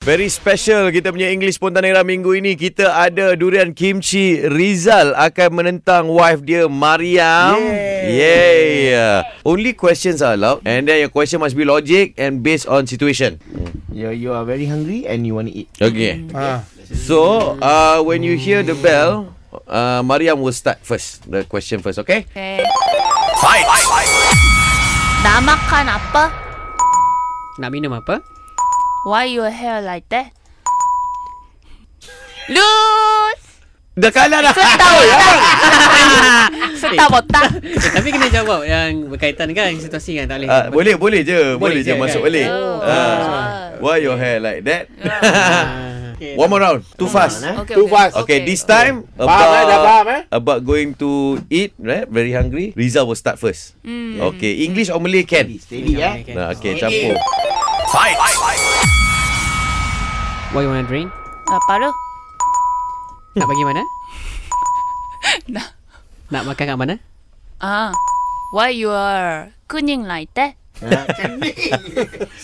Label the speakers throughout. Speaker 1: Very special kita punya English Pontanera minggu ini Kita ada Durian Kimchi Rizal akan menentang wife dia Mariam Yay, yeah. Only questions are allowed And then your question must be logic and based on situation Hmm.
Speaker 2: You you are very hungry and you want to eat.
Speaker 1: Okay
Speaker 3: Ah,
Speaker 1: So uh, when you hear the bell uh, Mariam will start first The question first okay
Speaker 4: Okay. Nak makan apa?
Speaker 5: Nak minum apa?
Speaker 4: Why your hair like that? Lose!
Speaker 1: Dah kalah dah
Speaker 4: Setah botak! Setah botak!
Speaker 5: Eh, tapi kena jawab yang berkaitan kan situasi kan tak boleh.
Speaker 1: uh, Boleh boleh je Boleh,
Speaker 5: Boleh
Speaker 1: je,
Speaker 5: je,
Speaker 1: masuk
Speaker 5: kan?
Speaker 1: balik
Speaker 4: Oh.
Speaker 1: Ah. Why your hair like that
Speaker 5: Ah, okay.
Speaker 1: One more round Too fast
Speaker 2: round, eh?
Speaker 4: Okay,
Speaker 3: Too fast.
Speaker 1: Okay, this time
Speaker 3: Faham, eh? Dah faham, eh?
Speaker 1: about going to eat, right? Very hungry. Rizal will start first.
Speaker 4: Hmm.
Speaker 1: Okay, English or Malay
Speaker 2: Steady,
Speaker 1: can.
Speaker 2: steady eh.
Speaker 5: Yeah, okay.
Speaker 1: ya. Nah, okay, campur.
Speaker 5: What you want drink?
Speaker 4: Apa lu?
Speaker 5: Nak bagi mana?
Speaker 4: Nak.
Speaker 5: Nak makan kat mana?
Speaker 4: Ah. Why you are kuning like that?
Speaker 2: Ah, Kening.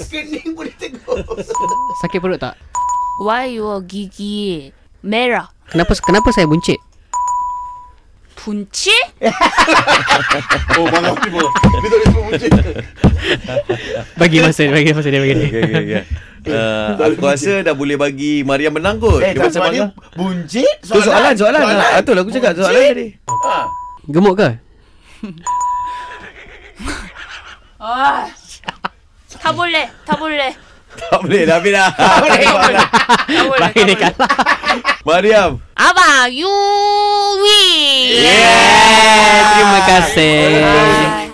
Speaker 2: Kening boleh tegur.
Speaker 5: Sakit perut tak?
Speaker 4: Why your gigi merah?
Speaker 5: Kenapa kenapa saya buncit?
Speaker 4: Punci?
Speaker 3: oh bang Afi pun. Dia tak boleh sebut
Speaker 2: Eh,
Speaker 3: bunyi.
Speaker 5: Bagi masa dia, bagi masa dia, bagi dia.
Speaker 1: Okay, okay, okay. Uh, aku rasa dah boleh bagi Mariam menang kot.
Speaker 2: Eh,
Speaker 1: Dia pasal
Speaker 2: tak sebab dia
Speaker 1: menang.
Speaker 2: buncit.
Speaker 1: Tu soalan, soalan. Ah, Betul aku cakap soalan tadi.
Speaker 5: Gemuk ke?
Speaker 4: Ah. Tak boleh, tak boleh.
Speaker 1: Tak boleh, dah habis dah.
Speaker 4: Tak boleh,
Speaker 5: Bagi dia
Speaker 4: tak boleh.
Speaker 5: kalah.
Speaker 1: Mariam.
Speaker 4: Abang, you win!
Speaker 5: Yeah, terima kasih.
Speaker 4: Bye.